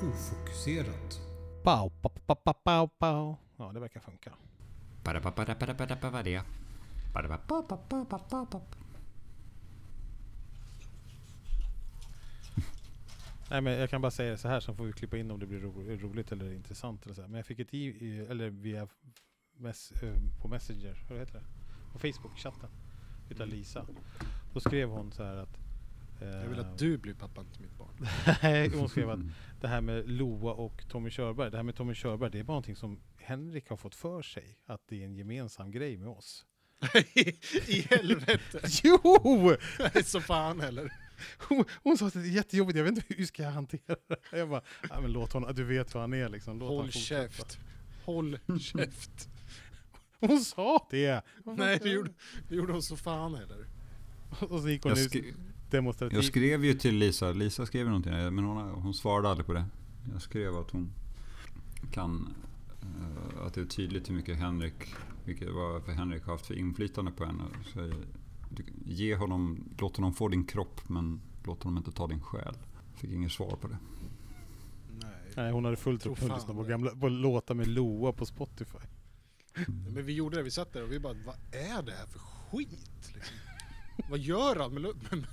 ofokuserat. Pow, pow, pow, pow, pow, pow. Ja, det verkar funka. Parapaparaparaparapavaria. Parapapapapapapap. Nej, men jag kan bara säga så här, så får vi klippa in om det blir ro roligt eller intressant. Eller så här. Men jag fick ett i, i- eller via mess, eh, på Messenger, vad heter det? På Facebook-chatten, utav Lisa. Då skrev hon så här att... eh, Mm. Jag vill att Mm. du blir pappan till mitt barn. Nej, hon skrev att det här med Loa och Tommy Körberg, det här med Tommy Körberg, det är bara någonting som Henrik har fått för sig, att det är en gemensam grej med oss. I helvete! Jo! Nej, så fan heller. Hon, hon sa att det är jättejobbigt, jag vet inte hur ska jag hantera det här. Jag bara, ja, men låt honom, du vet hur han är liksom. Låt han Håll fortsätta." käft. Håll käft. Hon sa det! Nej, det gjorde, det gjorde hon så fan heller. Och så gick hon Jag, ut skri- jag demonstrativt. skrev ju till Lisa. Lisa skrev någonting, men hon, har- hon svarade aldrig på det. Jag skrev att hon kan... eh, att det är tydligt hur mycket Henrik... Vilket var för Henrik har haft för inflytande på henne. Så jag- du- ge honom... Låt honom få din kropp, men låt honom inte ta din själ. Fick inget svar på det. Nej. Nej, hon hade fullt Tror upp med att fan lyssna på, det. gamla, på låtar med Loa på Spotify. Men vi gjorde det, vi satt där och vi bara, vad är det här för skit? Liksom. vad gör han med lumpen?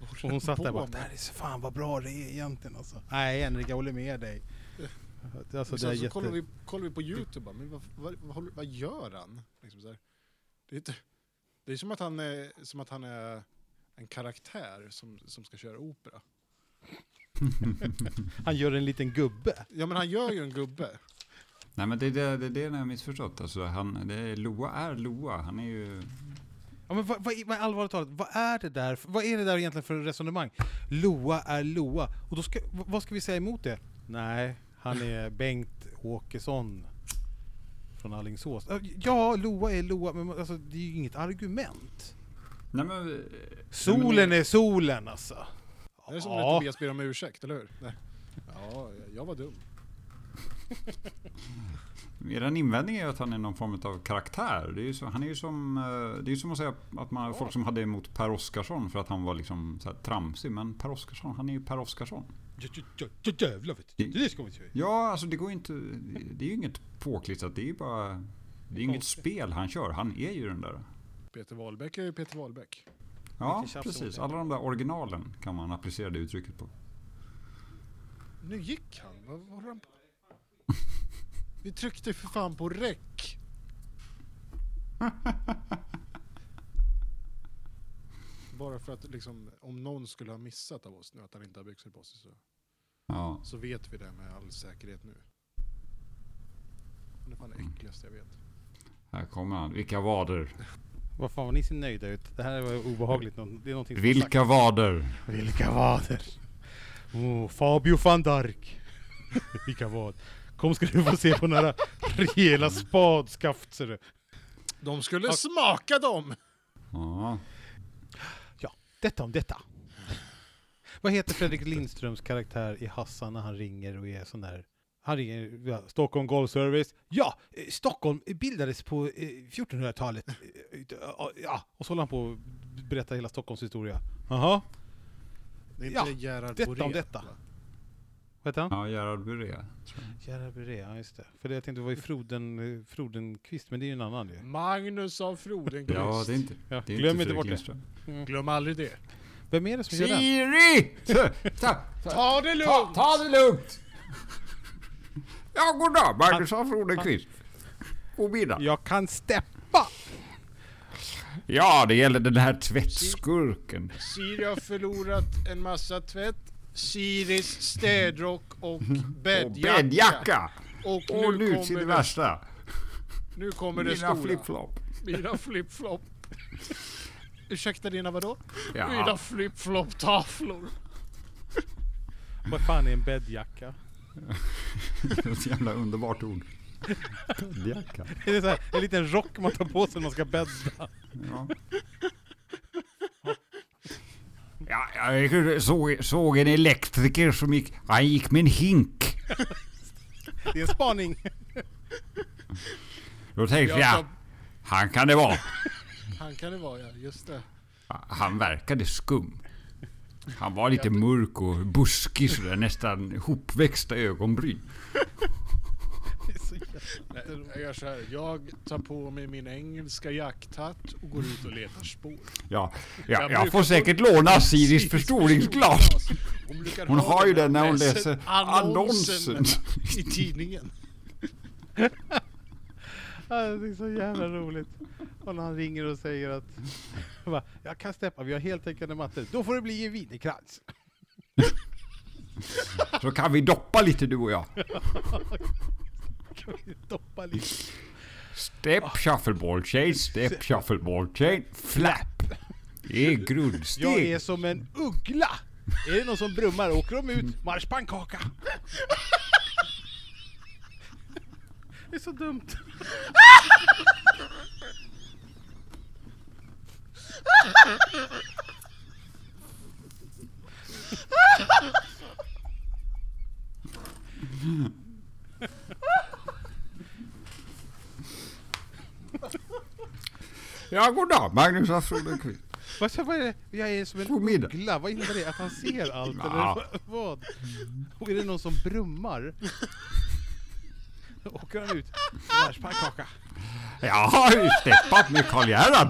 Och hon satt där på och bara, med? det här är så fan vad bra det är egentligen alltså. Nej Henrik, jag håller med dig. Alltså, Och det är sen så jätte... kollar, vi, kollar vi på Youtube, bara, men vad, vad, vad, håller- vad gör han? Liksom så här. Det, är inte, det är som att han är, som att han är en karaktär som, som ska köra opera. Han gör en liten gubbe. Ja men han gör ju en gubbe. Nej men det är det, det, är det jag har missförstått. Alltså, han, det är, Loa är Loa. Han är ju... Ja, men vad, vad, vad, allvarligt talat, vad är det där Vad är det där egentligen för resonemang? Loa är Loa. Och då ska, v- vad ska vi säga emot det? Nej, han är Bengt Åkesson från Alingsås. Ja, Loa är Loa, men alltså, det är ju inget argument. Nej men... eh, Solen är solen alltså. Det är som när Ja. Tobias ber om ursäkt, eller hur? Nej. Ja, jag var dum. Eran invändning är ju att han är någon form av karaktär. Det är ju, så, han är ju som, eh, det är ju som att säga att man, folk som hade emot Per Oscarsson för att han var liksom så här tramsig. Men Per Oscarsson, han är ju Per Oscarsson. Jävlar vet du, det ska vi inte göra. Ja, alltså det går ju inte... Det är ju inget påklistrat. Det är ju bara... Det är inget spel han kör. Han är ju den där. Peter Wahlbeck är ju Peter Wahlbeck. Ja, Vilken tjafs precis. det var. Alla de där originalen kan man applicera det uttrycket på. Nu gick han. Vad, vad håller han på? Vi tryckte för fan på räck. Bara för att liksom, om någon skulle ha missat av oss nu att han inte har byxor på sig så, Ja. så vet vi det med all säkerhet nu. Han är fan det äckligaste jag vet. Här kommer han. Vilka vader. Vad fan var ni så nöjda ut? Det här var obehagligt. Nå- Det är någonting som Vilka vader. har sagt- Vilka vader! Oh, Fabio van Dark. Vilka vad? Kom ska du få se på några rejäla spadskaft ser du. De skulle smaka dem! Ja. Detta om detta. Vad heter Fredrik Lindströms karaktär i Hassan när han ringer och är sån där han ringer ja, Stockholm Golfservice. Ja, eh, Stockholm bildades på eh, 1400-talet. Eh, eh, Ja, och så håller han på att berätta hela Stockholms historia. Jaha, Det är Ja, inte Gerhard detta om Borén, detta. va? vad heter han? Ja, Gerard Buré. Gerhard Buré, ja just det. För det jag tänkte var ju Froden, eh, Frodenqvist, men det är ju en annan ju. Magnus av Frodenqvist. Ja, det är inte... Ja, Det är glöm inte inte Fredrik bort det. Lindström. Glöm aldrig det. Vem är det som gör den? Siri! Ta, ta, ta, Ta det lugnt! ta, ta det lugnt! Ja, goddag! Magnus af Rodenqvist. God middag. Jag kan steppa! Ja, det gäller den här tvättskurken. Siri har förlorat en massa tvätt. Siris städrock och Och bäddjacka. bäddjacka! Och nu, Och nu till kommer, det det, värsta. nu kommer det Mina stora. flip-flop. Mina flip-flop. Ursäkta dina vadå? Mina Ja. flip-flop-tavlor. Vad fan är en bäddjacka? Ett jävla underbart ord. Bäddjacka. Är det så här, en liten rock man tar på sig när man ska bädda? Ja. Ja, jag såg, såg en elektriker som gick... Han gick med en hink. Det är en spaning! Då tänkte Jag jag, tar- han kan det vara. Han kan det vara ja, just det. Han verkade skum. Han var lite mörk och buskig sådär, nästan hopväxta ögonbryn. Det är så jävla- Nej, jag gör så här. Jag tar på mig min engelska jakthatt och går ut och letar spår. Ja, Jag ja brukar jag får få- säkert låna Siris förstoringsglas. Hon, brukar Hon ha har ju den den när hon läser läser annonsen. I tidningen. Ja, Det är så jävla roligt. Och när han ringer och säger att bara, jag kan steppa, vi har heltäckande mattor. Då får det bli en wienerkrans. Så kan vi doppa lite du och jag. Kan vi doppa lite? Step shuffleboard chain, step shuffleboard chain, flap. Det är grundsteg. Jag är som en uggla. Är det någon som brummar åker de ut marschpannkaka. Det är så dumt. Ja, god dag. Magnus af Rodenkvist. Vad sa- vad är det? Jag är som en God middag. uggla. Vad innebär det? Att han ser allt Ja. eller vad? Och är det någon som brummar? Åker han ut marschpannkaka. Jag har ju steppat med Karl Gerhard.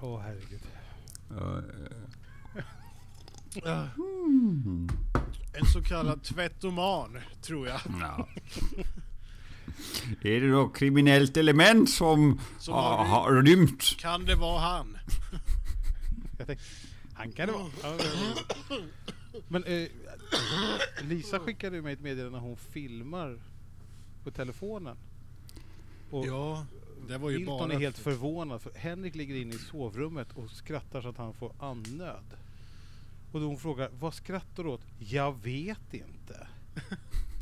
Åh herregud. En så kallad tvättoman, tror jag. Ja. Är det då kriminellt element som, Som har har, har rymt? Kan det vara han? Jag tänkte, han kan det vara. Ja, det var roligt. Men eh, Lisa skickade ju mig ett meddelande när hon filmar på telefonen. Och Ja, det var ju Milton bara... är helt förvånad för Henrik ligger inne i sovrummet och skrattar så att han får andnöd. Och då hon frågar, vad skrattar du åt? Jag vet inte.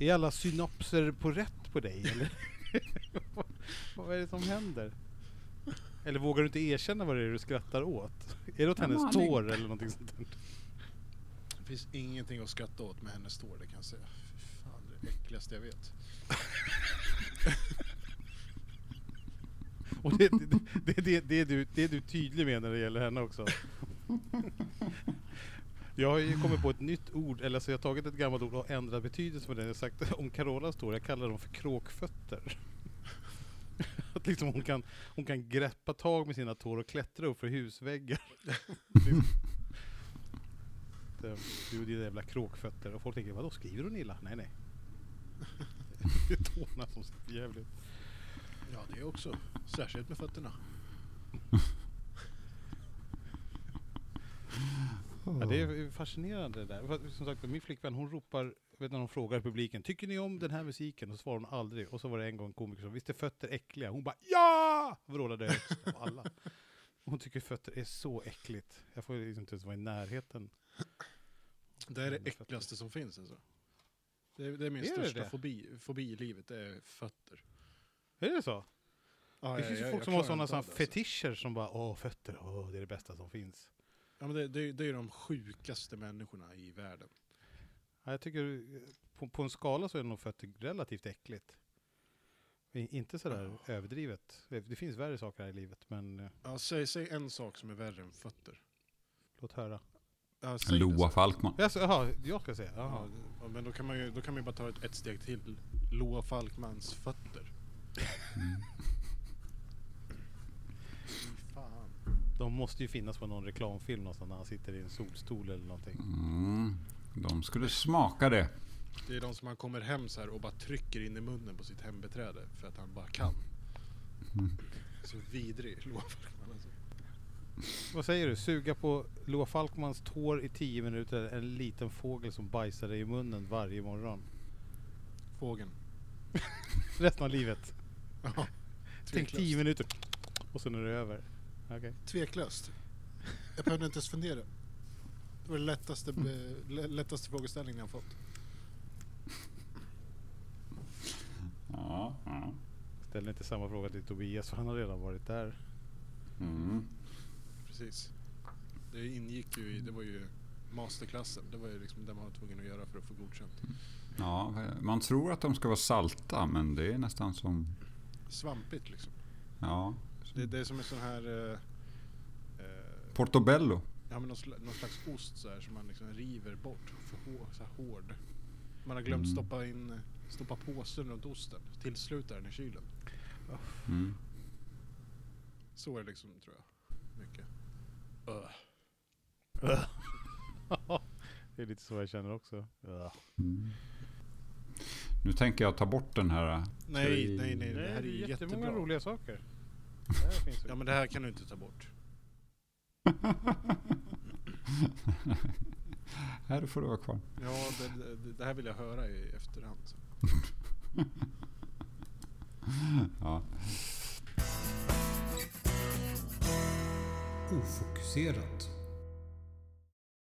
Är alla synopser på rätt på dig eller? vad, vad är det som händer? Eller vågar du inte erkänna vad det är du skrattar åt? Är det åt Jag har hennes ingen tår eller någonting sånt där? Det finns ingenting att skratta åt med hennes tår, det kan jag säga. Fy Fan, det är det äckligaste jag vet. Och det, det, det, det, det, är du, det är du tydlig med när det gäller henne också. Jag har ju kommit på ett nytt ord, eller så jag har tagit ett gammalt ord och ändrat betydelse på det. Jag har sagt om Carolas tår, jag kallar dem för kråkfötter. Att liksom hon kan, hon kan greppa tag med sina tår och klättra upp för husväggar. Liksom. Det- Du och dina jävla kråkfötter. Och folk tänker, vadå skriver hon illa? Nej, nej. Det är tårna som ser för jävligt. Ja, det är också. Särskilt med fötterna. Ja, det Mm. är fascinerande det där. För Som sagt, min flickvän hon ropar, vet du, när hon frågar publiken, tycker ni om den här musiken? Och svarar hon aldrig. Och så var det en gång en komiker som, visst är fötter äckliga? Hon bara ja! Vrålade högst av alla. Hon tycker fötter är så äckligt. Jag får liksom inte ens vara i närheten. Det är det äckligaste som finns alltså. Det är, det är min Är det största det? Fobi, fobi i livet, det är fötter. Är det så? Ja, det jag- finns ju jag- folk jag som har klarar sådana inte såna av det, alltså. fetischer som bara, åh fötter, åh, det är det bästa som finns. Ja, men det, det, det är ju de sjukaste människorna i världen. Ja, jag tycker, eh, på, på en skala så är nog fötter relativt äckligt. I- Inte sådär överdrivet. Det- Det finns värre saker här i livet, men eh, Ja, säg, säg en sak som är värre än fötter. låt höra. Ja, säg det Loa sen. Falkman. Alltså, jaha, jag ska säga. Ja, Jaha. det- ja, men då kan, man ju, då kan man ju bara ta ett, ett steg till. Loa Falkmans fötter. Mm. Fy Fan. De måste ju finnas på någon reklamfilm någonstans när han sitter i en solstol eller någonting. Mm, de skulle smaka det. Det är de som han kommer hem så här och bara trycker in i munnen på sitt hembeträde för att han bara kan. Så vidrig Loa Falkman alltså. Vad säger du? Suga på Loa Falkmans tår i 10 minuter eller en liten fågel som bajsar dig i munnen varje morgon? Fågeln. Resten av livet. Ja, Tänk 10 minuter och sen är det över. Okej. Tveklöst. Jag behövde inte ens fundera. Det var den lättaste, be- lä- lättaste frågeställningen jag fått. Ja, ja. Ställ inte samma fråga till Tobias för han har redan varit där. Mm. Precis. Det ingick ju i, det var ju masterklassen. Det var ju liksom det man var tvungen att göra för att få godkänt. Ja, man tror att de ska vara salta, men det är nästan som... Svampigt liksom. Ja. Det, det är som en sån här... Eh, eh, Portobello. ja, men någon, sl- någon slags ost så här som man liksom river bort. För hår, så här hård. Man har glömt Mm. stoppa in stoppa påsen runt osten. Tillsluta den i kylen. Mm. Så är det liksom tror jag. Mycket. Ugh. det är lite så jag känner också. Mm. Nu tänker jag ta bort den här. Nej, vi- nej, nej. Det Nej, här är ju jättebra. roliga saker. Det här finns Ja men det här kan du inte ta bort. här får du vara kvar. Ja, det, det, det här vill jag höra i efterhand. Så. Ja. Ofokuserat.